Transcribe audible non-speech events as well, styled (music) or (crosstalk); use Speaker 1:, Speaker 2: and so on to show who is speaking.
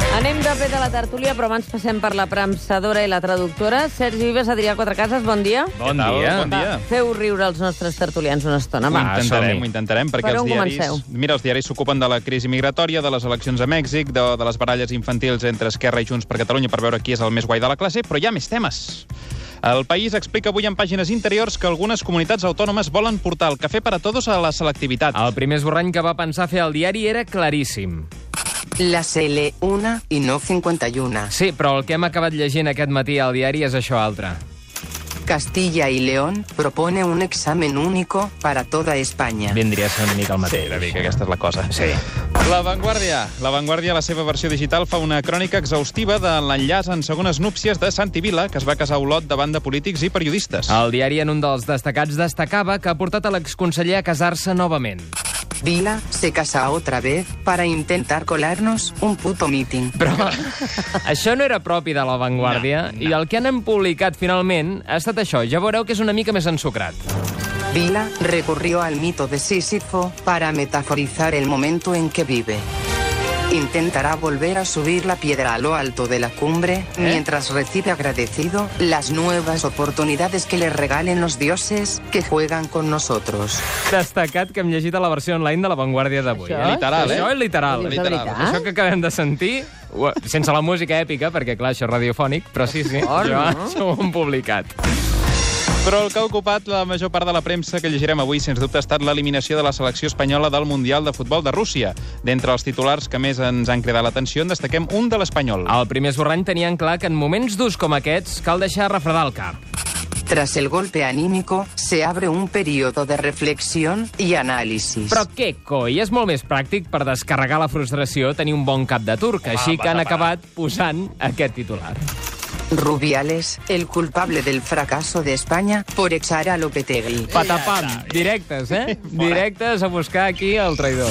Speaker 1: paper de la tertúlia, però abans passem per la premsadora i la traductora. Sergi Vives, Adrià Quatrecases, bon dia.
Speaker 2: Bon dia.
Speaker 3: Bon dia.
Speaker 1: Feu riure els nostres tertulians una estona,
Speaker 2: Ho
Speaker 1: va.
Speaker 2: intentarem,
Speaker 3: som-hi.
Speaker 2: ho intentarem, perquè
Speaker 1: Per
Speaker 2: els
Speaker 1: on
Speaker 2: diaris...
Speaker 1: comenceu?
Speaker 2: Mira, els diaris s'ocupen de la crisi migratòria, de les eleccions a Mèxic, de, de les baralles infantils entre Esquerra i Junts per Catalunya per veure qui és el més guai de la classe, però hi ha més temes. El País explica avui en pàgines interiors que algunes comunitats autònomes volen portar el cafè per a tots a la selectivitat.
Speaker 3: El primer esborrany que va pensar fer al diari era claríssim.
Speaker 4: La CL 1 i no 51.
Speaker 3: Sí, però el que hem acabat llegint aquest matí al diari és això altre.
Speaker 4: Castilla y León propone un examen único para toda España.
Speaker 3: Vindria a ser una mica el mateix.
Speaker 2: Una mica, aquesta és la cosa.
Speaker 3: Sí.
Speaker 2: La Vanguardia. La Vanguardia, a la seva versió digital, fa una crònica exhaustiva de l'enllaç en segones núpcies de Santi Vila, que es va casar a Olot davant de polítics i periodistes.
Speaker 3: El diari en un dels destacats destacava que ha portat a l'exconseller a casar-se novament.
Speaker 4: Vila se casa otra vez para intentar colarnos un puto meeting.
Speaker 3: Però (laughs) això no era propi de la Vanguardia, no, no. i el que han publicat finalment ha estat això. Ja veureu que és una mica més ensucrat.
Speaker 4: Vila recurrió al mito de Sísifo para metaforizar el momento en que vive. Intentará volver a subir la piedra a lo alto de la cumbre mientras recibe agradecido las nuevas oportunidades que le regalen los dioses que juegan con nosotros.
Speaker 3: Destacat que hem llegit a la versió online de la Vanguardia d'avui.
Speaker 1: Això?
Speaker 2: Literal, eh?
Speaker 3: Això és literal.
Speaker 1: Ho dius de
Speaker 2: Literal.
Speaker 1: veritat?
Speaker 3: Això que acabem de sentir, ho- sense la música èpica, perquè clar, això és radiofònic, però sí, sí,
Speaker 1: fort,
Speaker 3: jo,
Speaker 1: no?
Speaker 3: això ho hem publicat.
Speaker 2: Però el que ha ocupat la major part de la premsa que llegirem avui, sens dubte, ha estat l'eliminació de la selecció espanyola del Mundial de Futbol de Rússia. D'entre els titulars que més ens han cridat l'atenció, en destaquem un de l'Espanyol.
Speaker 3: Al primer esborrany tenien clar que en moments durs com aquests cal deixar refredar el cap.
Speaker 4: Tras el golpe anímico, se abre un periodo de reflexión y análisis.
Speaker 3: Però què coi, és molt més pràctic per descarregar la frustració tenir un bon cap de turc, així que han acabat posant aquest titular.
Speaker 4: Rubiales, el culpable del fracaso de España por echar a Lopetegui.
Speaker 3: (laughs) Patapam, directes, eh? Directes a buscar aquí el traïdor.